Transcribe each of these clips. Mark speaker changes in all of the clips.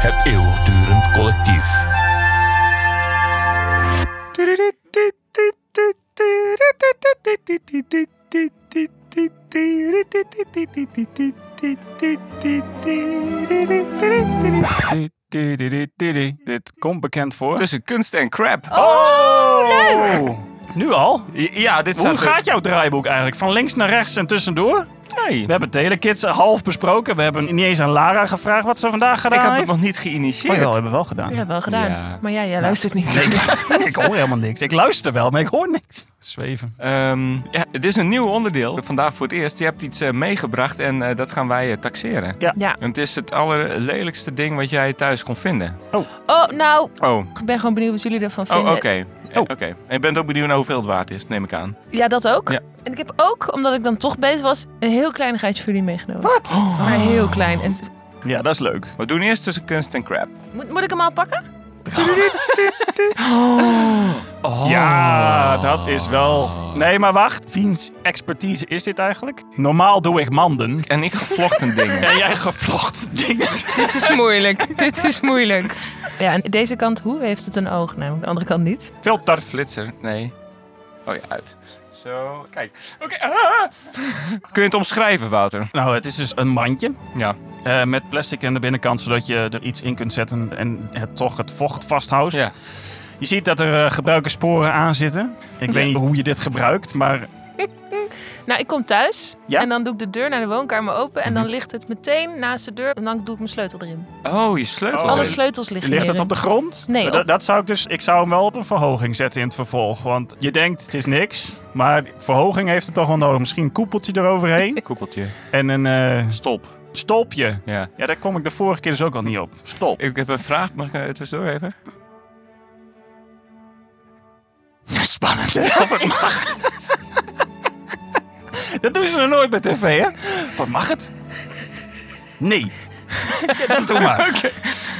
Speaker 1: Het eeuwigdurend collectief.
Speaker 2: Dit komt bekend voor.
Speaker 3: Tussen kunst en crap.
Speaker 2: oh,
Speaker 3: leuk!
Speaker 2: Nu al?
Speaker 3: Ja, dit staat
Speaker 2: Hoe gaat jouw draaiboek eigenlijk? Van links naar rechts en tussendoor?
Speaker 3: Nee.
Speaker 2: We hebben Telekids eh, half besproken. We hebben niet eens aan Lara gevraagd wat ze vandaag gedaan
Speaker 3: Ik had het
Speaker 2: heeft.
Speaker 3: nog niet
Speaker 2: Maar wel,
Speaker 3: geïnitieerd.
Speaker 2: hebben we wel gedaan.
Speaker 4: Ja, wel gedaan.
Speaker 3: Ja.
Speaker 4: Maar ja, jij luistert niet.
Speaker 2: ik hoor helemaal niks. Ik luister wel, maar ik hoor niks. Zweven.
Speaker 3: Ehm, ja, het is een nieuw onderdeel. Vandaag voor het eerst. Je hebt iets eh, meegebracht en eh, dat gaan wij eh, taxeren.
Speaker 4: Ja.
Speaker 3: En het is het allerlelijkste ding wat jij thuis kon vinden.
Speaker 4: Oh, nou,
Speaker 3: Oh,
Speaker 4: ik ben gewoon benieuwd wat jullie ervan
Speaker 3: oh
Speaker 4: vinden.
Speaker 3: oké. Eh, Oké. En je bent ook benieuwd naar hoeveel het waard is, neem ik aan.
Speaker 4: Ja, dat ook.
Speaker 3: Ja.
Speaker 4: En ik heb ook, omdat ik dan toch bezig was, een heel kleinigheidje voor jullie meegenomen. Wat? Maar heel klein. En,
Speaker 2: Ja, dat is leuk.
Speaker 3: We doen eerst tussen kunst en crap.
Speaker 4: moet, moet ik hem al pakken?
Speaker 2: Oh. Ja, dat is wel... Nee, maar wacht. Wiens expertise is dit eigenlijk? Normaal doe ik manden.
Speaker 3: En ik gevlochten dingen.
Speaker 2: En jij gevlochten dingen.
Speaker 4: Dit is moeilijk. Dit is moeilijk. Ja, en deze kant, hoe heeft het een oog? Nou, de andere kant niet.
Speaker 2: Filter.
Speaker 3: Flitser, nee. Oh ja, uit. Zo, kijk. Oké. ah! Kun je het omschrijven, Wouter?
Speaker 2: Nou, het is dus een mandje.
Speaker 3: Ja.
Speaker 2: eh, met plastic aan de binnenkant, zodat je er iets in kunt zetten en het toch het vocht vasthoudt.
Speaker 3: Ja.
Speaker 2: Je ziet dat er eh gebruikersporen aan zitten. Ik weet niet hoe je dit gebruikt, maar
Speaker 4: Nou, ik kom thuis
Speaker 2: Ja?
Speaker 4: en dan doe ik de deur naar de woonkamer open. En dan ligt het meteen naast de deur en dan doe ik mijn sleutel erin.
Speaker 3: Oh, je sleutel.
Speaker 2: Oh.
Speaker 4: Alle sleutels liggen
Speaker 2: ligt het
Speaker 4: hierin.
Speaker 2: op de grond?
Speaker 4: Nee,
Speaker 2: Dat,
Speaker 4: op-
Speaker 2: dat zou ik dus. Ik zou hem wel op een verhoging zetten in het vervolg. Want je denkt, het is niks. Maar verhoging heeft het toch wel nodig. Misschien een koepeltje eroverheen.
Speaker 3: Koepeltje.
Speaker 2: en een eh,
Speaker 3: Stop.
Speaker 2: stolpje.
Speaker 3: Ja.
Speaker 2: Ja, daar kwam ik de vorige keer dus ook al niet op. Stop.
Speaker 3: Ik heb een vraag, mag ik eh, tussendoor even?
Speaker 2: Spannend. hè? Wat mag. Dat doen ze nog nooit bij tv, hè? Wat mag het? Nee. Ja, dan doe maar.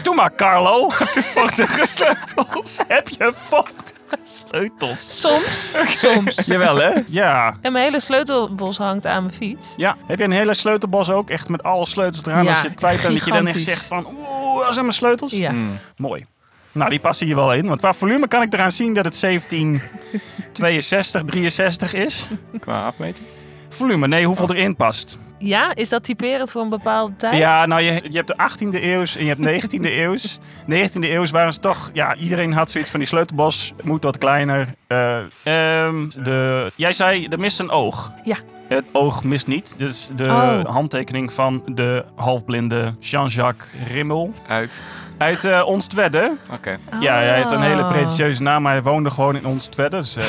Speaker 2: Doe maar, Carlo. Heb je vochtige sleutels? Heb je vochtige sleutels?
Speaker 4: Soms. Soms.
Speaker 2: Jawel, hè? Ja.
Speaker 4: En mijn hele sleutelbos hangt aan mijn fiets.
Speaker 2: Ja, heb je een hele sleutelbos ook? Echt met alle sleutels eraan.
Speaker 4: Ja,
Speaker 2: als je het kwijt bent, dat je dan echt
Speaker 4: gigantisch.
Speaker 2: zegt van... Oeh, dat zijn mijn sleutels?
Speaker 4: Ja.
Speaker 2: Mooi. Nou, die passen hier wel in. Want qua volume kan ik eraan zien dat het 1762, 63 is.
Speaker 3: Qua afmeting?
Speaker 2: Volume, nee, hoeveel
Speaker 4: Oh.
Speaker 2: erin past.
Speaker 4: Ja, is dat typerend voor een bepaalde tijd?
Speaker 2: Ja, nou, je, je hebt de 18e eeuws en je hebt 19e eeuws. 19e eeuws waren ze toch... Ja, iedereen had zoiets van die sleutelbos moet wat kleiner. Eh, ehm, de, jij zei, er mist een oog.
Speaker 4: Ja.
Speaker 2: Het oog mist niet. Dus de
Speaker 4: Oh.
Speaker 2: handtekening van de halfblinde Jean-Jacques Rimmel.
Speaker 3: Uit.
Speaker 2: Uit eh Ons Twedde.
Speaker 3: Oké.
Speaker 2: Ja, hij heeft een hele
Speaker 4: Ah.
Speaker 2: pretentieuze naam, maar hij woonde gewoon in ons Twedde. Dus eh,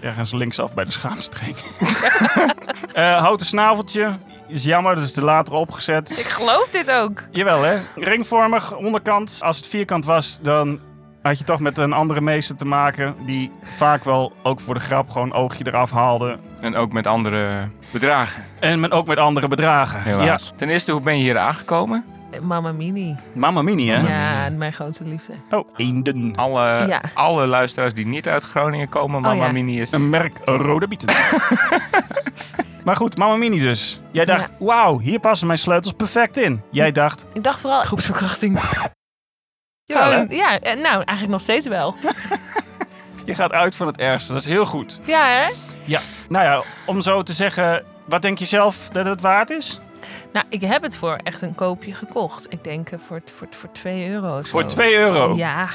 Speaker 2: ergens linksaf bij de schaamstreek. Eh, houten snaveltje. Is jammer, dat is er later opgezet.
Speaker 4: Ik geloof dit ook.
Speaker 2: Jawel, hè? Ringvormig, onderkant. Als het vierkant was, dan had je toch met een andere meester te maken. Die vaak wel, ook voor de grap, gewoon een oogje eraf haalde.
Speaker 3: En ook met andere bedragen,
Speaker 2: En men ook met andere bedragen.
Speaker 3: helaas. Ten eerste, hoe ben je hier aangekomen?
Speaker 4: Mama Mini.
Speaker 2: Ja. Mamma mini, hè?
Speaker 4: Ja, mijn grote liefde.
Speaker 2: Oh, eenden.
Speaker 3: Alle,
Speaker 4: Ja. Oh,
Speaker 3: alle luisteraars die niet uit Groningen komen, Mama
Speaker 4: ja.
Speaker 3: Mini is...
Speaker 2: Een merk rode bieten. maar goed, Mamma Mini dus. Jij dacht, wauw, hier passen mijn sleutels perfect in. Jij dacht,
Speaker 4: Ik dacht vooral groepsverkrachting.
Speaker 2: jawel, Oh, hè?
Speaker 4: Gewoon- ja, eh, nou, eigenlijk nog steeds wel.
Speaker 2: je gaat uit van het ergste. Dat is heel goed.
Speaker 4: Ja, hè?
Speaker 2: Nou ja, om zo te zeggen, wat denk je zelf dat het waard is?
Speaker 4: Nou, ik heb het voor echt een koopje gekocht. Ik denk eh, voor, voor, voor 2 euro. of
Speaker 2: Voor
Speaker 4: zo.
Speaker 2: 2 euro.
Speaker 4: Ja,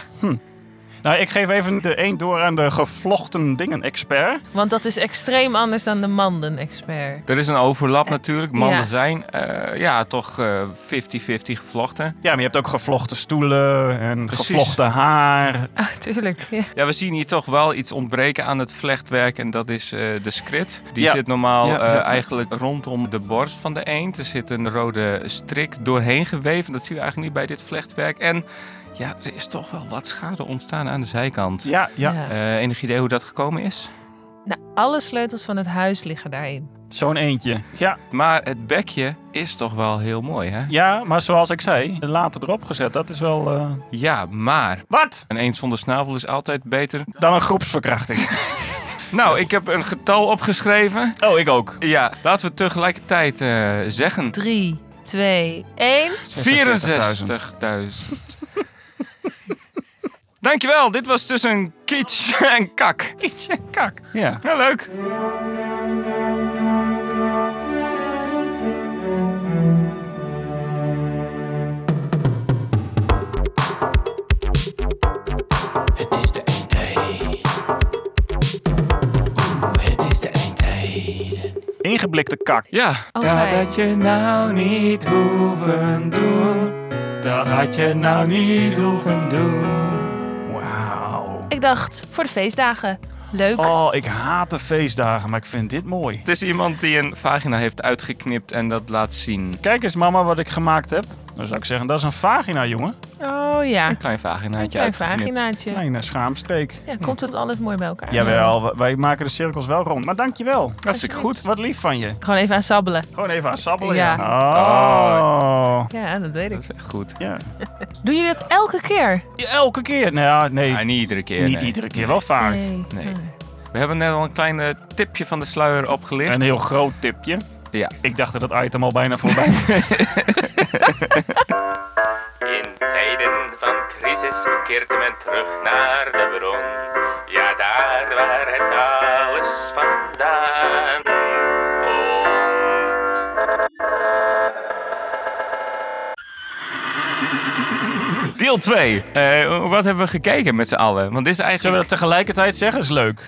Speaker 2: Nou, ik geef even de een door aan de gevlochten dingen-expert.
Speaker 4: want dat is extreem anders dan de manden-expert.
Speaker 3: Er is een overlap natuurlijk. Mannen
Speaker 4: Eh, ja.
Speaker 3: zijn eh, ja, toch eh, 50-50 gevlochten.
Speaker 2: Ja, maar je hebt ook gevlochten stoelen en
Speaker 3: Precies.
Speaker 2: gevlochten haar.
Speaker 4: Ah, tuurlijk. Ja.
Speaker 3: Ja, we zien hier toch wel iets ontbreken aan het vlechtwerk en dat is eh, de skrit. Die
Speaker 2: Ja.
Speaker 3: zit normaal
Speaker 2: Ja,
Speaker 3: eh,
Speaker 2: ja, ja.
Speaker 3: eigenlijk rondom de borst van de eend. Er zit een rode strik doorheen geweven. Dat zien we eigenlijk niet bij dit vlechtwerk. En ja, er is toch wel wat schade ontstaan aan de zijkant.
Speaker 2: Ja, ja.
Speaker 3: Eh, enig idee hoe dat gekomen is?
Speaker 4: Nou, alle sleutels van het huis liggen daarin.
Speaker 2: Zo'n eentje. Ja.
Speaker 3: Maar het bekje is toch wel heel mooi, hè?
Speaker 2: ja, maar zoals ik zei, later erop gezet. Dat is wel... eh,
Speaker 3: Ja, maar
Speaker 2: Wat?
Speaker 3: een eend zonder snavel is altijd beter.
Speaker 2: Dan een groepsverkrachting.
Speaker 3: Nou, ik heb een getal opgeschreven.
Speaker 2: oh, ik ook.
Speaker 3: Ja, laten we tegelijkertijd eh, zeggen.
Speaker 4: 3, 2, 1.
Speaker 3: 64.000. Dankjewel, dit was tussen kitsch en kak.
Speaker 2: Kietje en kak. Ja.
Speaker 3: Nou, leuk.
Speaker 5: Het is de eindtijd. Oeh, het is de eindtijd.
Speaker 2: Ingeblikte kak.
Speaker 3: Ja,
Speaker 4: Oh, fijn.
Speaker 3: je nou niet hoeven doen. Dat had je nou niet hoeven doen.
Speaker 2: Wauw.
Speaker 4: Ik dacht, voor de feestdagen. Leuk.
Speaker 2: Oh, ik haat de feestdagen, maar ik vind dit mooi.
Speaker 3: Het is iemand die een vagina heeft uitgeknipt en dat laat zien.
Speaker 2: Kijk eens mama wat ik gemaakt heb. Dan zou ik zeggen, dat is een vagina, jongen.
Speaker 4: Oh ja.
Speaker 3: Een klein vaginaatje
Speaker 4: Klein
Speaker 3: uitgeknipt.
Speaker 4: vaginaatje.
Speaker 2: Kleine schaamstreek.
Speaker 4: Ja, komt het alles mooi bij elkaar?
Speaker 2: Jawel, w- wij maken de cirkels wel rond. Maar dankjewel.
Speaker 3: Hartstikke goed.
Speaker 2: Wat lief van je.
Speaker 4: Gewoon even aan sabbelen.
Speaker 2: Gewoon even aan sabbelen.
Speaker 4: Ja.
Speaker 2: Oh.
Speaker 4: Ja, dat weet ik.
Speaker 3: Dat is echt goed.
Speaker 2: Ja.
Speaker 4: Doe je dat elke keer?
Speaker 2: Ja, Elke keer. Nou ja, nee.
Speaker 3: Maar niet iedere keer.
Speaker 2: Niet
Speaker 3: nee.
Speaker 2: iedere keer, wel vaak.
Speaker 4: Nee.
Speaker 3: Nee.
Speaker 4: Ah.
Speaker 3: We hebben net al een klein eh, tipje van de sluier opgelicht.
Speaker 2: Een heel groot tipje.
Speaker 3: Ja.
Speaker 2: Ik dacht dat het item al bijna voorbij was.
Speaker 6: In tijden van crisis keert men terug naar de bron. Ja, daar waar het alles vandaan komt.
Speaker 3: Deel 2. wat hebben we gekeken met z'n allen? Want dit is
Speaker 2: Zullen
Speaker 3: eigenlijk...
Speaker 2: we dat tegelijkertijd zeggen? is leuk.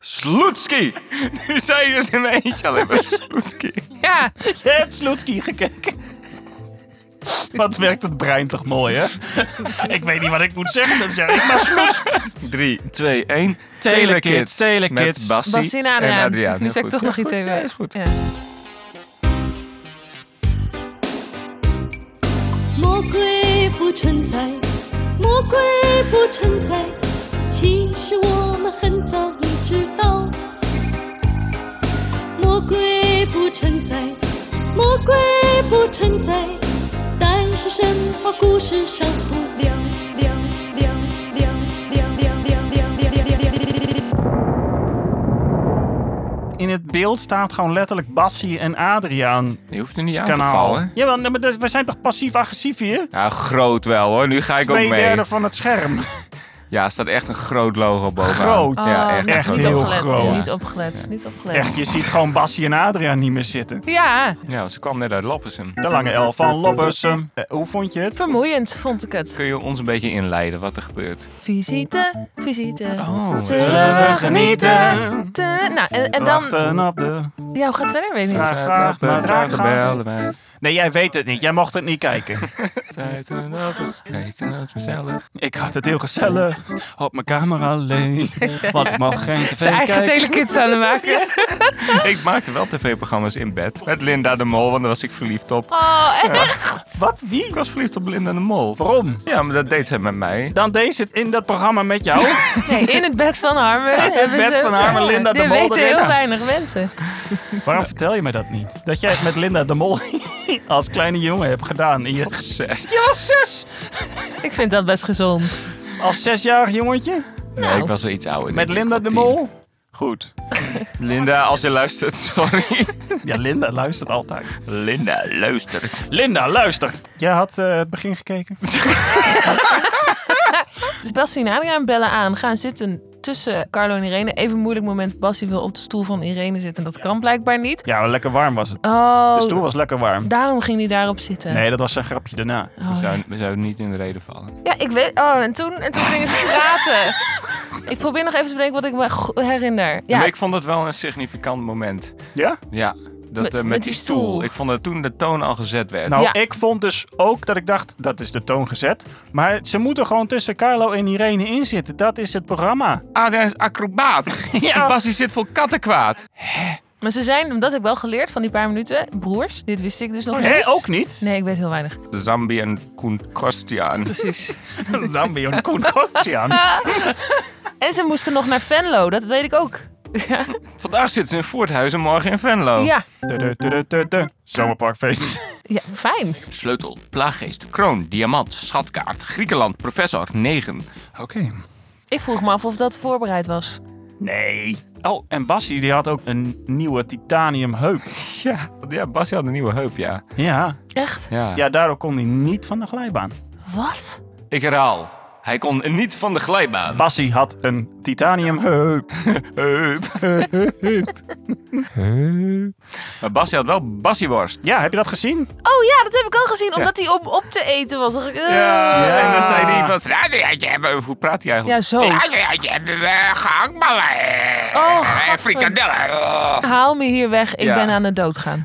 Speaker 3: Sloetski! nu zei je dus in mijn eentje alleen maar Sloetski.
Speaker 4: Ja,
Speaker 2: Je hebt Sloetski gekeken. Wat werkt het brein toch mooi, hè? ik weet niet wat ik moet zeggen. Dan zeg ik maar Sloetski.
Speaker 3: 3, 2, 1.
Speaker 2: Telekids, Telekids.
Speaker 3: Met Bassie,
Speaker 4: Bas en
Speaker 3: en
Speaker 4: Adriaan.
Speaker 3: Adriaan.
Speaker 4: Dus nu
Speaker 3: Heel
Speaker 4: zeg
Speaker 3: goed,
Speaker 4: ik toch
Speaker 3: ja.
Speaker 4: nog iets
Speaker 3: Goed,
Speaker 4: even.
Speaker 3: ja, is goed.
Speaker 4: Ja.
Speaker 7: Mooi. 魔鬼不存在，魔鬼不存在，其实我们很早已知道。魔鬼不存在，魔鬼不存在，但是神话故事少不了。了了了了了了了了了了
Speaker 2: In het beeld staat gewoon letterlijk Bassie en Adriaan
Speaker 3: Je hoeft er niet aan te
Speaker 2: kanaal.
Speaker 3: vallen.
Speaker 2: Jawel, nee, maar dat- we zijn toch passief-agressief hier?
Speaker 3: Ja, groot wel hoor. Nu ga ik
Speaker 2: Twee
Speaker 3: ook mee.
Speaker 2: derde van het scherm.
Speaker 3: Ja, er staat echt een groot logo bovenaan.
Speaker 2: Groot.
Speaker 3: Ja,
Speaker 4: Oh,
Speaker 2: echt
Speaker 3: echt, een
Speaker 4: niet
Speaker 3: groot
Speaker 2: heel
Speaker 3: logo.
Speaker 4: opgelet,
Speaker 2: groot.
Speaker 4: Niet opgelet, niet opgelet.
Speaker 2: Echt, je ziet gewoon Bassie en Adriaan niet meer zitten.
Speaker 4: Ja,
Speaker 3: Ja, ze kwam net uit Loppersum.
Speaker 2: De lange L van Loppersum. Eh, hoe vond je het?
Speaker 4: vermoeiend vond ik het.
Speaker 3: Kun je ons een beetje inleiden wat er gebeurt?
Speaker 4: Visite, visite.
Speaker 3: Oh,
Speaker 2: zullen we genieten?
Speaker 4: Te- Nou, en, en dan...
Speaker 2: Wachten op de...
Speaker 4: Ja, hoe gaat het verder? Weet ik niet.
Speaker 2: Vraag, vraag, maar vraag, gast.
Speaker 3: bij.
Speaker 2: Nee, jij weet het niet. Jij mocht het niet kijken.
Speaker 3: Tijd en alles, tijd en alles mezelf.
Speaker 2: Ik had het heel gezellig op mijn kamer alleen. Want ik mag geen tv
Speaker 4: Zijn eigen
Speaker 2: kijken.
Speaker 4: telekids aan het maken.
Speaker 3: Ik maakte wel tv-programma's in bed. Met Linda de Mol, want daar was ik verliefd op.
Speaker 4: Oh, echt?
Speaker 2: Wat? Wie?
Speaker 3: Ik was verliefd op Linda de Mol.
Speaker 2: Waarom?
Speaker 3: Ja, maar dat deed zij met mij.
Speaker 2: Dan deze in dat programma met jou.
Speaker 4: Nee, in het bed van Harmen. In
Speaker 2: bed van Harmen, Linda de
Speaker 4: Dit
Speaker 2: Mol
Speaker 4: weten
Speaker 2: erin.
Speaker 4: heel weinig mensen.
Speaker 2: Waarom vertel je me dat niet? Dat jij het met Linda de Mol als kleine jongen hebt gedaan. in je-
Speaker 3: Zes.
Speaker 2: Je was zes!
Speaker 4: Ik vind dat best gezond.
Speaker 2: Als zesjarig jongetje?
Speaker 3: Nee, ik was wel iets ouder.
Speaker 2: Met
Speaker 3: denk ik,
Speaker 2: Linda
Speaker 3: wel
Speaker 2: de
Speaker 3: tien.
Speaker 2: Mol? Goed.
Speaker 3: Linda, als je luistert, sorry.
Speaker 2: Ja, Linda luistert altijd.
Speaker 3: Linda luistert.
Speaker 2: Linda, luister! Jij had eh, het begin gekeken?
Speaker 4: Dus Bassie en Adriaan bellen aan, gaan zitten tussen Carlo en Irene. Even moeilijk moment, Bassie wil op de stoel van Irene zitten. Dat kan blijkbaar niet.
Speaker 2: Ja, lekker warm was het.
Speaker 4: Oh,
Speaker 2: De stoel was lekker warm.
Speaker 4: daarom ging hij daarop zitten.
Speaker 2: Nee, dat was een grapje daarna.
Speaker 3: We zouden, we zouden niet in de reden vallen.
Speaker 4: Ja, ik weet... Oh, en toen, en toen gingen ze praten. ik probeer nog even te bedenken wat ik me go- herinner. Ja,
Speaker 3: Maar ik vond dat wel een significant moment.
Speaker 2: Ja?
Speaker 3: Ja, dat,
Speaker 4: Met-
Speaker 3: eh, met,
Speaker 4: met
Speaker 3: die
Speaker 4: die
Speaker 3: stoel.
Speaker 4: stoel.
Speaker 3: Ik vond dat toen de toon al gezet werd.
Speaker 2: Nou,
Speaker 4: Ja.
Speaker 2: ik vond dus ook dat ik dacht, dat is de toon gezet. Maar ze moeten gewoon tussen Carlo en Irene in zitten. Dat is het programma.
Speaker 3: Adriaan is acrobaat. ja. Bassie zit vol kattenkwaad.
Speaker 4: maar ze zijn, dat heb ik wel geleerd van die paar minuten, broers. Dit wist ik dus nog niet.
Speaker 2: Hé, Oh, ook niet?
Speaker 4: Nee, ik weet heel weinig.
Speaker 3: Zambi en Koen Kostiaan.
Speaker 4: Precies.
Speaker 2: Zambio en Koen Kostiaan.
Speaker 4: en ze moesten nog naar Venlo, dat weet ik ook. Ja.
Speaker 3: Vandaag zitten ze in Voorthuis en morgen in Venlo.
Speaker 4: ja.
Speaker 2: Tudu, tudu, tudu. Zomerparkfeest.
Speaker 4: Ja, fijn.
Speaker 3: Sleutel, plaaggeest, kroon, diamant, schatkaart, Griekenland, professor, negen.
Speaker 2: Oké.
Speaker 4: Ik vroeg me af of dat voorbereid was.
Speaker 2: Nee. Oh, en Bassie die had ook een nieuwe titanium heup.
Speaker 3: Ja, ja Basje had een nieuwe heup, ja.
Speaker 2: Ja.
Speaker 4: Echt?
Speaker 3: ja.
Speaker 2: ja, daardoor kon hij niet van de glijbaan.
Speaker 4: Wat?
Speaker 3: Ik herhaal. Hij kon niet van de glijbaan.
Speaker 2: Bassie had een titanium heup.
Speaker 3: Maar Basje had wel bassieworst.
Speaker 2: Ja, heb je dat gezien?
Speaker 4: Oh ja, dat heb ik al gezien. Omdat hij om op te eten was. Dacht ik, eh.
Speaker 2: Ja.
Speaker 3: En dan zei hij van... "Fruitje hebben." Hoe praat hij
Speaker 4: Ja,
Speaker 3: eigenlijk?
Speaker 4: zo.
Speaker 3: Fruitje hebben we gehaktballen. eh,
Speaker 4: Oh,
Speaker 3: eh,
Speaker 4: gadver-
Speaker 3: Frikandellen. eh."
Speaker 4: Haal me hier weg. Ik
Speaker 3: Ja.
Speaker 4: ben aan het doodgaan.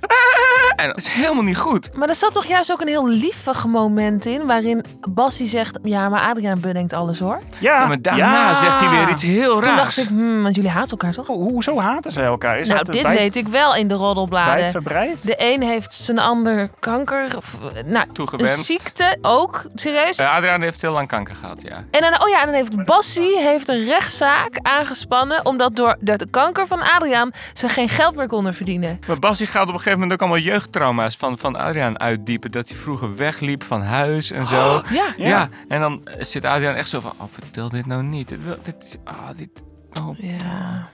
Speaker 3: En dat is helemaal niet goed.
Speaker 4: Maar er zat toch juist ook een heel liefig moment in. Waarin Bassie zegt: Ja, maar Adriaan bedenkt alles hoor.
Speaker 2: Ja.
Speaker 3: Ja, maar daarna
Speaker 2: Ja.
Speaker 3: zegt hij weer iets heel raars.
Speaker 4: Ah, Toen dacht ik: hmm, want jullie haten elkaar toch?
Speaker 2: Ho- Hoezo haten ze elkaar? Is
Speaker 4: nou,
Speaker 2: dat
Speaker 4: dit
Speaker 2: wijd-
Speaker 4: weet ik wel in de roddelbladen.
Speaker 2: wijdverbreid?
Speaker 4: De een heeft zijn ander kanker. Of, eh, nou,
Speaker 3: Toegewenst.
Speaker 4: Een ziekte ook, serieus.
Speaker 3: Eh, Adriaan heeft heel lang kanker gehad, ja.
Speaker 4: En dan, oh ja, en dan heeft Bassie heeft een rechtszaak aangespannen. omdat door de de kanker van Adriaan ze geen geld meer konden verdienen.
Speaker 3: Maar Bassie gaat op een gegeven moment ook allemaal jeugdtrauma's van, van Adriaan uitdiepen. Dat hij vroeger wegliep van huis en zo.
Speaker 4: Ja.
Speaker 3: ja. en dan zit Adriaan echt zo van, oh, vertel dit nou niet. Dit, wil- dit is, ah, dit, oh.
Speaker 4: Ja.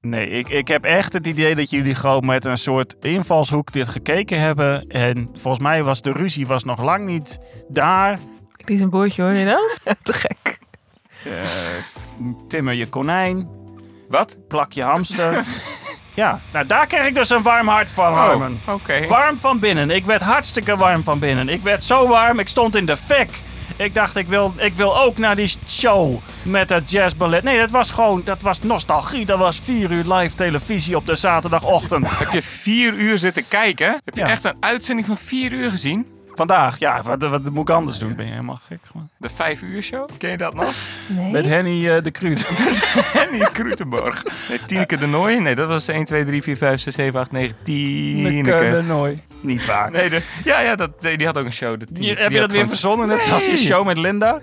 Speaker 2: Nee, ik, ik heb echt het idee dat jullie gewoon met een soort invalshoek dit gekeken hebben. En volgens mij was de ruzie was nog lang niet daar.
Speaker 4: Ik liet een boordje hoor, je dat? Te gek.
Speaker 2: Eh, Timmer je konijn,
Speaker 3: Wat?
Speaker 2: plak je hamster. ja, nou daar kreeg ik dus een warm hart van, Harmon.
Speaker 3: Oh, oké.
Speaker 2: Warm van binnen. Ik werd hartstikke warm van binnen. Ik werd zo warm, ik stond in de fik. Ik dacht, ik wil, ik wil ook naar die show met dat jazzballet. Nee, dat was gewoon, dat was nostalgie. Dat was vier uur live televisie op de zaterdagochtend.
Speaker 3: Heb je vier uur zitten kijken? Heb je
Speaker 2: Ja.
Speaker 3: echt een uitzending van vier uur gezien?
Speaker 2: Vandaag, ja, wat, wat moet ik anders doen? Ben je helemaal gek gewoon.
Speaker 3: De vijf uur show? Ken je dat nog?
Speaker 2: Met
Speaker 4: Nee.
Speaker 2: Henny eh, de Kruid.
Speaker 3: Henny Krutenborg. Nee, Tieneke de Nooij? Nee, dat was 1, 2, 3, 4, 5, 6, 7, 8, 9, Tieneke.
Speaker 2: nooit. Niet waar.
Speaker 3: Nee, de, ja, ja dat, nee, die had ook een show. De
Speaker 2: Je- heb je dat weer verzonnen, net zoals je
Speaker 3: Nee.
Speaker 2: show met Linda?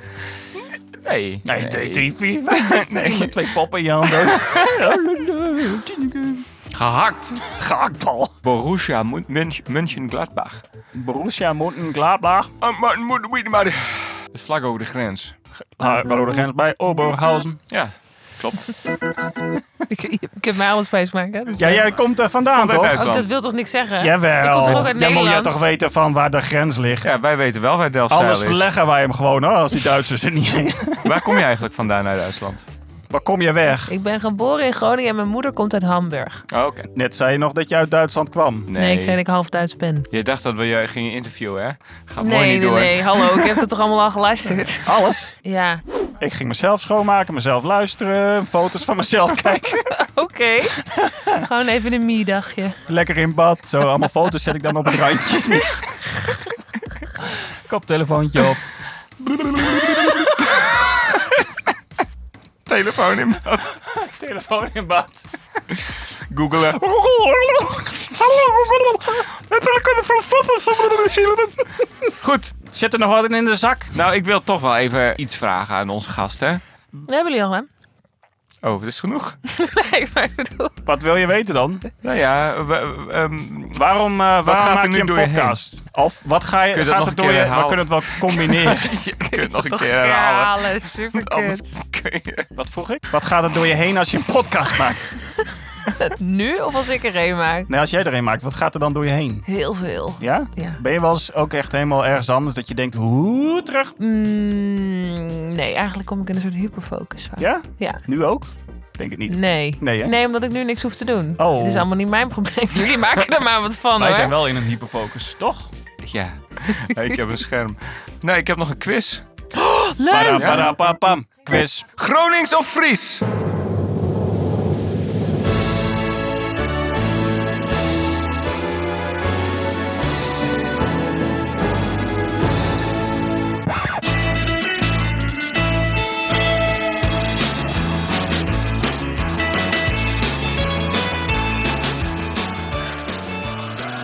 Speaker 3: Nee.
Speaker 2: Nee, nee. drie, vier, vijf. Nee, met twee poppen in je handen.
Speaker 3: Gehakt.
Speaker 2: Gehaktbal.
Speaker 3: Borussia Mun- Münch- Mönchengladbach.
Speaker 2: Borussia Mönchengladbach.
Speaker 3: Ah, maar moet moet- maar... Het is vlak over de grens.
Speaker 2: Ah, Rode Gens bij Oberhausen.
Speaker 3: Ja, klopt.
Speaker 4: Ik, ik heb mij alles wijsmaken. hè? Dat is
Speaker 2: Ja,
Speaker 4: wel-
Speaker 2: jij komt er vandaan,
Speaker 3: Komt uit
Speaker 2: toch?
Speaker 4: Oh,
Speaker 3: Duitsland.
Speaker 4: dat wil toch niks zeggen? Ik kom
Speaker 2: Jawel.
Speaker 4: toch ook uit
Speaker 2: Dan moet je
Speaker 4: Nederland?
Speaker 2: toch weten van waar de grens ligt.
Speaker 3: Ja, wij weten wel waar Delfzijl
Speaker 2: Anders
Speaker 3: is.
Speaker 2: verleggen wij hem gewoon, hoor, als die Duitsers er niet zijn.
Speaker 3: Waar kom je eigenlijk vandaan uit Duitsland?
Speaker 2: Waar kom je weg?
Speaker 4: Ik ben geboren in Groningen en mijn moeder komt uit Hamburg.
Speaker 3: Oh, Oké.
Speaker 2: Net zei je nog dat je uit Duitsland kwam.
Speaker 4: Nee, ik zei dat ik half Duits ben.
Speaker 3: Je dacht dat we je gingen interviewen, hè? Gaat mooi
Speaker 4: Nee,
Speaker 3: niet
Speaker 4: nee,
Speaker 3: door.
Speaker 4: nee. Hallo, ik heb het toch allemaal al geluisterd?
Speaker 2: Alles.
Speaker 4: Ja.
Speaker 2: Ik ging mezelf schoonmaken, mezelf luisteren, foto's van mezelf kijken.
Speaker 4: Oké. Gewoon even een miedagje.
Speaker 2: Lekker in bad. Zo, allemaal foto's zet ik dan op het randje. Koptelefoontje op.
Speaker 3: Telefoon in bad.
Speaker 2: Telefoon in bad.
Speaker 3: Googelen.
Speaker 2: Natuurlijk kunnen van foto's
Speaker 3: Goed.
Speaker 2: Zit er nog wat in de zak?
Speaker 3: Nou, ik wil toch wel even iets vragen aan onze gasten.
Speaker 4: Dat hebben jullie al, hè?
Speaker 3: Oh, dat is genoeg.
Speaker 4: Nee, maar ik bedoel...
Speaker 2: Wat wil je weten dan?
Speaker 3: Nou ja, we- we- ehm,
Speaker 2: Waarom, eh, waarom
Speaker 3: gaat er
Speaker 2: maak
Speaker 3: nu
Speaker 2: je een
Speaker 3: door je heen?
Speaker 2: podcast? Of wat ga je,
Speaker 3: Kun je dat
Speaker 2: gaat
Speaker 3: nog
Speaker 2: het
Speaker 3: een
Speaker 2: door
Speaker 3: keer
Speaker 2: je? We
Speaker 3: herhalen?
Speaker 2: kunnen het wel combineren.
Speaker 3: je kunt het nog een keer herhalen.
Speaker 4: Ja, nou, super
Speaker 3: Anders kun je...
Speaker 2: wat vroeg ik? Wat gaat er door je heen als je een podcast maakt?
Speaker 4: Nu of als ik er een maak?
Speaker 2: Nee, als jij er een maakt, wat gaat er dan door je heen?
Speaker 4: Heel veel.
Speaker 2: Ja?
Speaker 4: Ja.
Speaker 2: Ben je wel eens ook echt helemaal ergens anders dat je denkt, hoe terug?
Speaker 4: Mm, nee, eigenlijk kom ik in een soort hyperfocus. vaak.
Speaker 2: Ja?
Speaker 4: Ja.
Speaker 2: Nu ook? Denk het niet.
Speaker 4: Nee.
Speaker 2: Nee, hè?
Speaker 4: Nee, omdat ik nu niks hoef te doen.
Speaker 2: Oh.
Speaker 4: Het is allemaal niet mijn probleem. Jullie maken er maar wat van,
Speaker 2: Wij
Speaker 4: hoor.
Speaker 2: zijn wel in een hyperfocus, toch?
Speaker 3: Ja, ik heb een scherm. Nee, ik heb nog een quiz.
Speaker 4: Leuk!
Speaker 2: eh, Parapapam. Quiz.
Speaker 3: Gronings of Fries?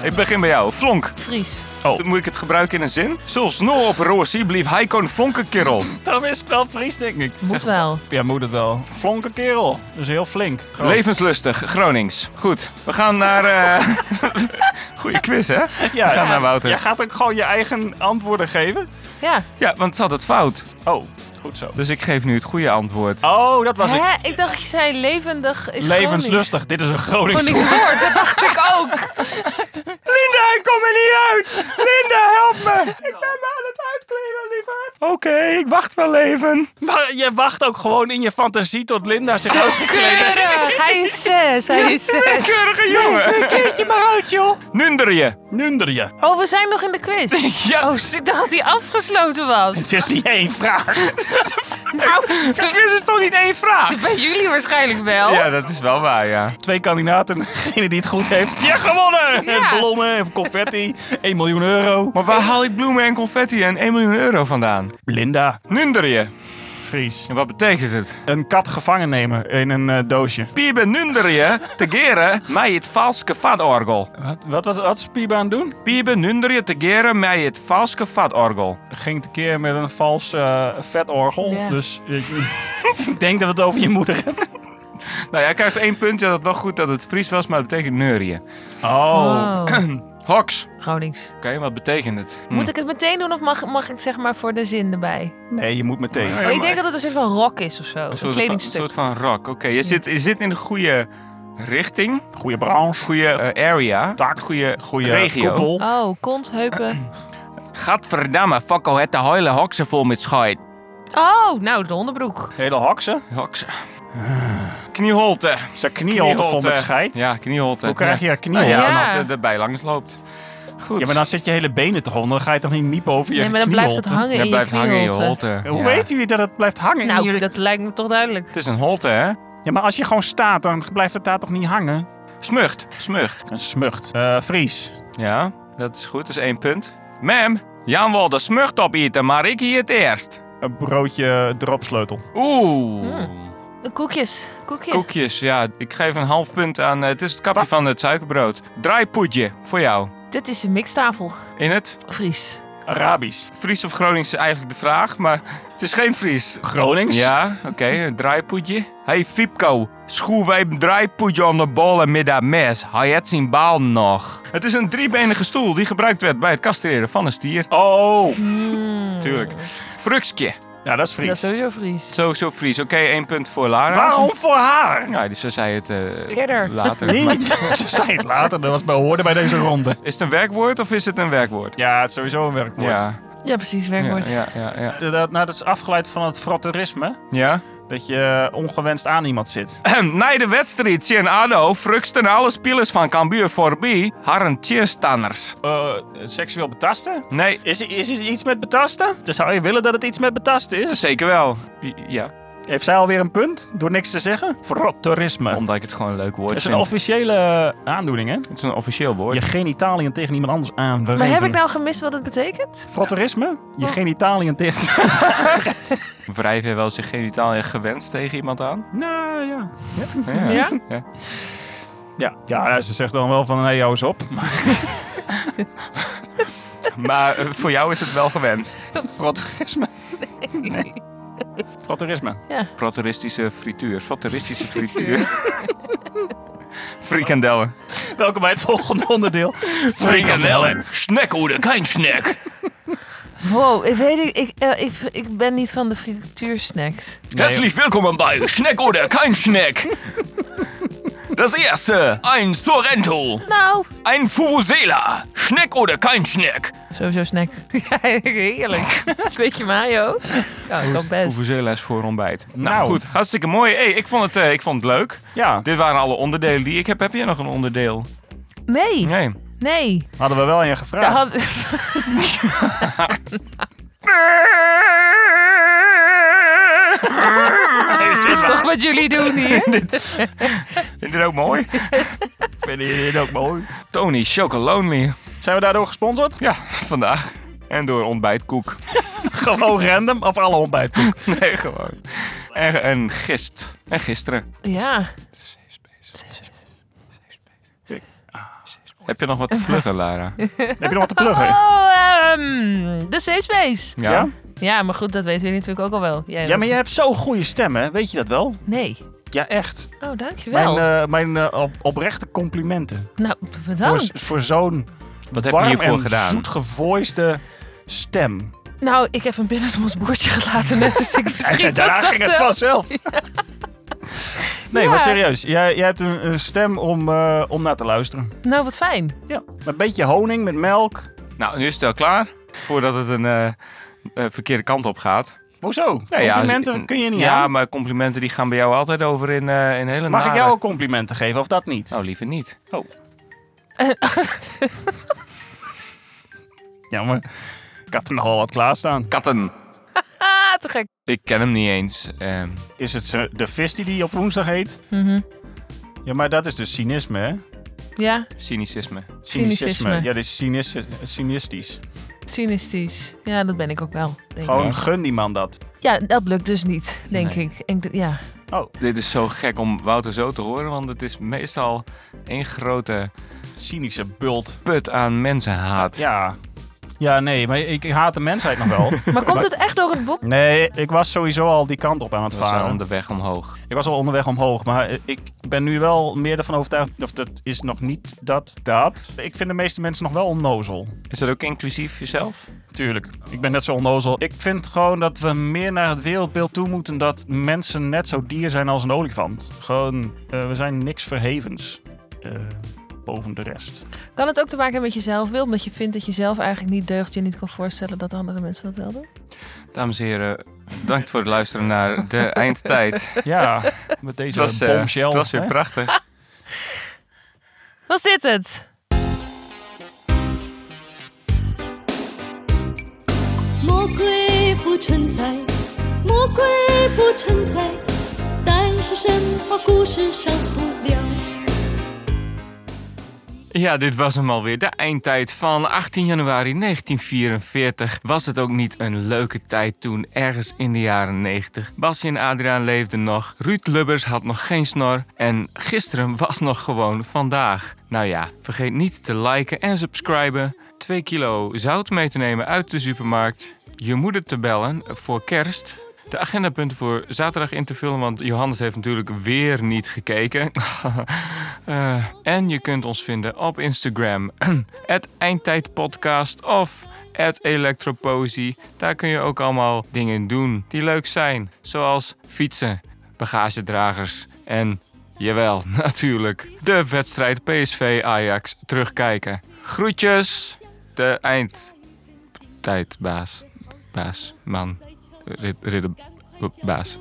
Speaker 3: Ik begin bij jou. Flonk,
Speaker 4: Fries.
Speaker 3: moet ik het gebruiken in een zin? Zoals no op Rossi blief hij kon flonken kerel.
Speaker 2: Dan is het wel Fries, denk ik.
Speaker 4: Moet wel.
Speaker 2: Ja, moet het wel. Flonke kerel. Dat is heel flink. Groot.
Speaker 3: Oh. Levenslustig, Gronings. Goed, we gaan naar. eh Goeie quiz, hè?
Speaker 2: Ja,
Speaker 3: we gaan
Speaker 2: ja.
Speaker 3: naar Wouter.
Speaker 2: Jij
Speaker 3: Ja.
Speaker 2: gaat ook gewoon je eigen antwoorden geven?
Speaker 4: Ja.
Speaker 3: want ze had het fout.
Speaker 2: Oh. Goed zo.
Speaker 3: Dus ik geef nu het goede antwoord.
Speaker 2: Oh, dat was ik.
Speaker 4: Hè? Ik dacht, je zei levendig is
Speaker 2: Levenslustig. Dit is een Gronings
Speaker 4: Gronings
Speaker 2: woord.
Speaker 4: woord, dat dacht ik ook.
Speaker 3: Linda, ik kom er niet uit! Linda, help me! Ik ben me aan het uitkleden, lieverd. Oké, ik wacht wel even.
Speaker 2: Maar je wacht ook gewoon in je fantasie tot Linda zich uitgekleed heeft.
Speaker 4: Keurig. Hij is zes, hij is zes.
Speaker 3: Keurige jongen!
Speaker 2: Kleed je maar uit, joh.
Speaker 3: Nunder je.
Speaker 2: Nunder je.
Speaker 4: Oh, we zijn nog in de quiz.
Speaker 3: Ja.
Speaker 4: Oh, s- ik dacht dat hij afgesloten was.
Speaker 2: Het is niet één vraag.
Speaker 4: Nou,
Speaker 3: Quiz is toch niet één vraag?
Speaker 4: bij jullie waarschijnlijk wel.
Speaker 3: Ja, dat is wel waar, ja.
Speaker 2: Twee kandidaten. Degene die het goed heeft. Ja, gewonnen!
Speaker 4: Ja.
Speaker 2: En ballonnen, en confetti. 1 miljoen euro.
Speaker 3: Maar waar haal ik bloemen en confetti en 1 miljoen euro vandaan?
Speaker 2: Linda.
Speaker 3: Nunder je.
Speaker 2: Vries.
Speaker 3: En wat betekent het?
Speaker 2: Een kat gevangen nemen in een eh, doosje.
Speaker 3: Piebe nunder je te geren mij het valske vadorgel.
Speaker 2: Wat, wat was wat is Piba aan het doen?
Speaker 3: Piebe nunder je te geren mij het valske vadorgel.
Speaker 2: Ging tekeer met een vals eh, vetorgel.
Speaker 4: Ja.
Speaker 2: Dus ik, ik denk dat we het over je moeder hebben.
Speaker 3: Nou, jij krijgt één puntje dat het wel goed dat het Fries was, maar het betekent neurien.
Speaker 2: Oh.
Speaker 3: Hoks.
Speaker 4: Gronings.
Speaker 3: Oké, wat betekent het? Hm.
Speaker 4: Moet ik het meteen doen of mag, mag ik zeg maar voor de zin erbij?
Speaker 2: Nee, je moet meteen.
Speaker 4: Oh, ik denk dat het een soort van rok is of zo. Een,
Speaker 3: soort van-
Speaker 4: kledingstuk.
Speaker 3: soort van rock. Oké, je, zit, je zit in de goede richting,
Speaker 2: Goede branche.
Speaker 3: goede eh, area,
Speaker 2: Tak.
Speaker 3: goede,
Speaker 2: Goede
Speaker 3: regio.
Speaker 2: koepel.
Speaker 4: Oh, kont, heupen.
Speaker 3: Gadverdamme, fakkel het de hele hoksen vol met schijt.
Speaker 4: Oh, nou, de onderbroek.
Speaker 2: Hele haksen.
Speaker 3: Hoksen. Knieholte.
Speaker 2: Zijn knieholte vol met scheid.
Speaker 3: Ja, knieholte.
Speaker 2: Hoe krijg je
Speaker 3: ja.
Speaker 2: haar knieholte?
Speaker 3: Nou ja,
Speaker 4: Ja.
Speaker 3: omdat de, de bij langs loopt. Goed.
Speaker 2: Ja, maar dan zit je hele benen toch onder. Dan ga je toch niet miepen over je
Speaker 4: Nee, maar dan blijft het
Speaker 2: knieholte?
Speaker 4: hangen in
Speaker 3: Je
Speaker 4: je
Speaker 3: blijft hangen in je
Speaker 4: knieholte.
Speaker 3: holte.
Speaker 2: Hoe
Speaker 3: Ja.
Speaker 2: weten jullie dat het blijft hangen? in
Speaker 4: Nou,
Speaker 2: jullie-
Speaker 4: dat lijkt me toch duidelijk.
Speaker 3: Het is een holte, hè?
Speaker 2: Ja, maar als je gewoon staat, dan blijft het daar toch niet hangen?
Speaker 3: Smucht. Smucht.
Speaker 2: Een smucht. Eh Fries.
Speaker 3: Ja, dat is goed. Dat is één punt. Mem, Jan wil de smucht opeten, maar ik hier het eerst.
Speaker 2: Een broodje dropsleutel.
Speaker 3: Oeh.
Speaker 4: De Eh, koekjes. Koekje.
Speaker 3: Koekjes, ja. Ik geef een half punt aan... eh, Het is het kapje van het suikerbrood. Draaipoedje, voor jou.
Speaker 4: Dit is een mixtafel.
Speaker 3: In het
Speaker 4: Fries.
Speaker 2: Arabisch.
Speaker 3: Fries of Gronings is eigenlijk de vraag, maar het is geen Fries.
Speaker 2: Gronings.
Speaker 3: Ja, oké, een draaipoedje. Hey Fipko, schoe wij een draaipoedje aan de ballen met dat mes. Hij had zijn baal nog. Het is een driebenige stoel die gebruikt werd bij het castreren van een stier.
Speaker 2: Oh.
Speaker 4: Mm,
Speaker 3: Tuurlijk. Frukskje.
Speaker 2: Ja, dat is
Speaker 4: Dat is
Speaker 2: Fries.
Speaker 4: sowieso Fries.
Speaker 3: Sowieso Fries. Oké, één punt voor Lara.
Speaker 2: Waarom voor haar?
Speaker 3: Ja, dus ze zei het eh,
Speaker 4: Eerder.
Speaker 3: later.
Speaker 2: Nee, ze zei het later. Dat was bij hoorde bij deze ronde.
Speaker 3: Is het een werkwoord of is het een werkwoord?
Speaker 2: Ja, het is sowieso een werkwoord.
Speaker 3: Ja,
Speaker 4: Ja, precies.
Speaker 3: ja,
Speaker 4: Werkwoord.
Speaker 3: ja, ja, ja.
Speaker 2: Dat, nou, dat is afgeleid van het fratterisme.
Speaker 3: ja.
Speaker 2: Dat je ongewenst aan iemand zit.
Speaker 3: Na de wedstrijd zien ADO fruksten alle spelers van Cambuur voorbij harren tierstanners.
Speaker 2: Eh, seksueel betasten?
Speaker 3: Nee,
Speaker 2: Is, er- is er iets met betasten? Dan zou je willen dat het iets met betasten is.
Speaker 3: zeker wel. I- Ja,
Speaker 2: Heeft zij alweer een punt? Door niks te zeggen? Frotterisme.
Speaker 3: omdat ik het gewoon een leuk woord
Speaker 2: Dat is
Speaker 3: vind.
Speaker 2: een officiële eh, aandoening, hè?
Speaker 3: het is een officieel woord.
Speaker 2: Je genitaliën tegen iemand anders aan.
Speaker 4: Maar heb ik nou Oh. gemist wat het betekent?
Speaker 2: Frotterisme? Je genitaliën tegen...
Speaker 3: Wrijf je wel zich genitaal en gewenst tegen iemand aan?
Speaker 2: nou, ja.
Speaker 3: Ja.
Speaker 4: Ja?
Speaker 2: Ja, ja ze zegt dan wel van, nee, jou eens op.
Speaker 3: Maar eh, voor jou is het wel gewenst.
Speaker 2: Frotterisme? Nee. Frotterisme.
Speaker 3: Frotteristische frituur. Frotteristische frituur. Frikandellen.
Speaker 2: Welkom bij het volgende onderdeel.
Speaker 3: Frikandellen. Snackhoede, kein snack.
Speaker 4: Wow, ik weet ik, ik, eh, ik, ik ben niet van de frituursnacks.
Speaker 3: Herzlich willkommen bei Snack oder kein Snack. Das erste, ein Sorrento,
Speaker 4: Nou,
Speaker 3: ein Fuvuzela, Snack oder kein Snack.
Speaker 4: sowieso snack. Ja, heerlijk. Een beetje mayo. Ja, dat kan best.
Speaker 3: Fuvuzela is voor ontbijt. Nou,
Speaker 2: Nou.
Speaker 3: goed, hartstikke mooi. Hey, ik, vond het, eh, ik vond het leuk.
Speaker 2: Ja,
Speaker 3: Dit waren alle onderdelen die ik heb. Heb jij nog een onderdeel?
Speaker 4: Nee,
Speaker 3: Nee.
Speaker 4: nee.
Speaker 2: hadden we wel aan je gevraagd.
Speaker 4: Dat had- Dat is toch wat jullie doen hier?
Speaker 3: Vind je dit ook mooi?
Speaker 2: Vind je dit ook mooi?
Speaker 3: Tony Chocolonely.
Speaker 2: Zijn we daardoor gesponsord?
Speaker 3: Ja, vandaag. En door ontbijtkoek.
Speaker 2: Gewoon random of alle ontbijt?
Speaker 3: Nee, gewoon. En, en gist. En gisteren.
Speaker 4: Ja.
Speaker 3: Heb je nog wat te pluggen, Lara?
Speaker 2: Heb je nog wat te pluggen?
Speaker 4: Oh, ehm, de safe space.
Speaker 2: Ja?
Speaker 4: Ja, maar goed, dat weten jullie natuurlijk ook al wel. Jij
Speaker 2: Ja,
Speaker 4: was-
Speaker 2: maar je hebt zo'n goede stem, hè? Weet je dat wel?
Speaker 4: Nee.
Speaker 2: Ja, echt.
Speaker 4: Oh, dankjewel.
Speaker 2: Mijn, eh, mijn eh, op- oprechte complimenten.
Speaker 4: nou,
Speaker 2: Voor,
Speaker 4: bedankt.
Speaker 2: voor zo'n
Speaker 3: Wat heb je
Speaker 2: warm
Speaker 3: hiervoor
Speaker 2: en
Speaker 3: gedaan?
Speaker 2: zoetgevoiste stem.
Speaker 4: Nou, ik heb hem binnen ons boertje gelaten net, dus ik misschien
Speaker 2: En daarna
Speaker 4: dat dat eh,
Speaker 2: ging het
Speaker 4: wel.
Speaker 2: vanzelf. Nee,
Speaker 4: Ja.
Speaker 2: maar serieus. Jij, jij hebt een, een stem om, eh, om naar te luisteren.
Speaker 4: Nou, wat fijn.
Speaker 2: Ja. Met een beetje honing, met melk.
Speaker 3: Nou, nu is het wel klaar. Voordat het een eh, eh, verkeerde kant op gaat.
Speaker 2: Hoezo?
Speaker 3: Nou ja,
Speaker 2: complimenten
Speaker 3: als-
Speaker 2: kun je niet
Speaker 3: Ja,
Speaker 2: aan.
Speaker 3: maar complimenten die gaan bij jou altijd over in, eh in hele
Speaker 2: Mag ik
Speaker 3: nare-
Speaker 2: jou ook complimenten geven of dat niet?
Speaker 3: Nou, liever niet.
Speaker 2: Jammer. Ik had er nogal wat klaarstaan.
Speaker 3: Katten.
Speaker 4: Ah, te gek.
Speaker 3: Ik ken hem niet eens. Ehm,
Speaker 2: Is het zo- de vis die die op woensdag heet?
Speaker 4: Mhm.
Speaker 2: Ja, maar dat is dus cynisme, hè?
Speaker 4: Ja,
Speaker 3: cynicisme.
Speaker 4: Cynicisme.
Speaker 2: Ja, dat is cynis cynistisch.
Speaker 4: cynistisch. Ja, dat ben ik ook wel. Denk ik.
Speaker 2: Gewoon gun die man dat.
Speaker 4: Ja, dat lukt dus niet, denk
Speaker 3: Nee.
Speaker 4: ik. ik. denk- Ja.
Speaker 3: Dit is zo gek om Wouter zo te horen, want het is meestal één grote
Speaker 2: Cynische bult.
Speaker 3: put aan mensenhaat.
Speaker 2: Ja. Ja, nee, maar ik haat de mensheid nog wel.
Speaker 4: Maar komt het echt door het boek?
Speaker 2: Nee, ik was sowieso al die kant op aan het
Speaker 3: We zijn
Speaker 2: varen.
Speaker 3: de weg omhoog.
Speaker 2: Ik was al onderweg omhoog, maar eh, ik ben nu wel meer ervan overtuigd. Of dat is nog niet dat, dat. Ik vind de meeste mensen nog wel onnozel.
Speaker 3: Is dat ook inclusief jezelf?
Speaker 2: Tuurlijk, ik ben net zo onnozel. Ik vind gewoon dat we meer naar het wereldbeeld toe moeten dat mensen net zo dier zijn als een olifant. Gewoon, eh, we zijn niks verhevens eh, boven de rest.
Speaker 4: Kan het ook te maken hebben met je zelfbeeld? Omdat je vindt dat je zelf eigenlijk niet deugt, je niet kan voorstellen dat andere mensen dat wel doen?
Speaker 3: Dames en heren, bedankt voor het luisteren naar de eindtijd.
Speaker 2: Ja, met
Speaker 3: Het
Speaker 2: deze
Speaker 3: was, eh,
Speaker 2: bombshell.
Speaker 3: het was weer
Speaker 2: hè?
Speaker 3: prachtig.
Speaker 4: Was dit het?
Speaker 7: 魔鬼不存在，魔鬼不存在，但是神话故事少不了。
Speaker 3: Ja, dit was hem alweer. De eindtijd van 18 januari 1944. Was het ook niet een leuke tijd toen, ergens in de jaren 90? Basje en Adriaan leefden nog. Ruud Lubbers had nog geen snor. En gisteren was nog gewoon vandaag. Nou ja, vergeet niet te liken en subscriben. 2 kilo zout mee te nemen uit de supermarkt. Je moeder te bellen voor kerst. De agendapunten voor zaterdag in te vullen, want Johannes heeft natuurlijk weer niet gekeken. Eh, en je kunt ons vinden op Instagram, at eindtijdpodcast of at electroposie. Daar kun je ook allemaal dingen doen die leuk zijn, zoals fietsen, bagagedragers en, jawel, natuurlijk, de wedstrijd PSV-Ajax terugkijken. Groetjes, de eindtijdbaas, baas, man, rid, ridder, baas.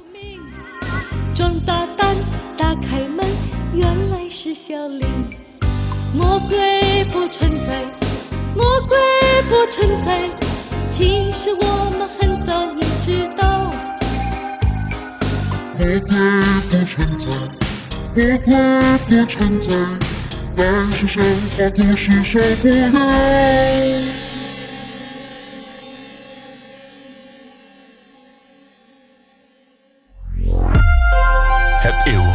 Speaker 7: 壮大胆，打开门，原来是小林。魔鬼不存在，魔鬼不存在，其实我们很早已知道。
Speaker 8: 魔鬼不存在，魔鬼不存在，但是神话故事少不了。
Speaker 1: Het eeuwige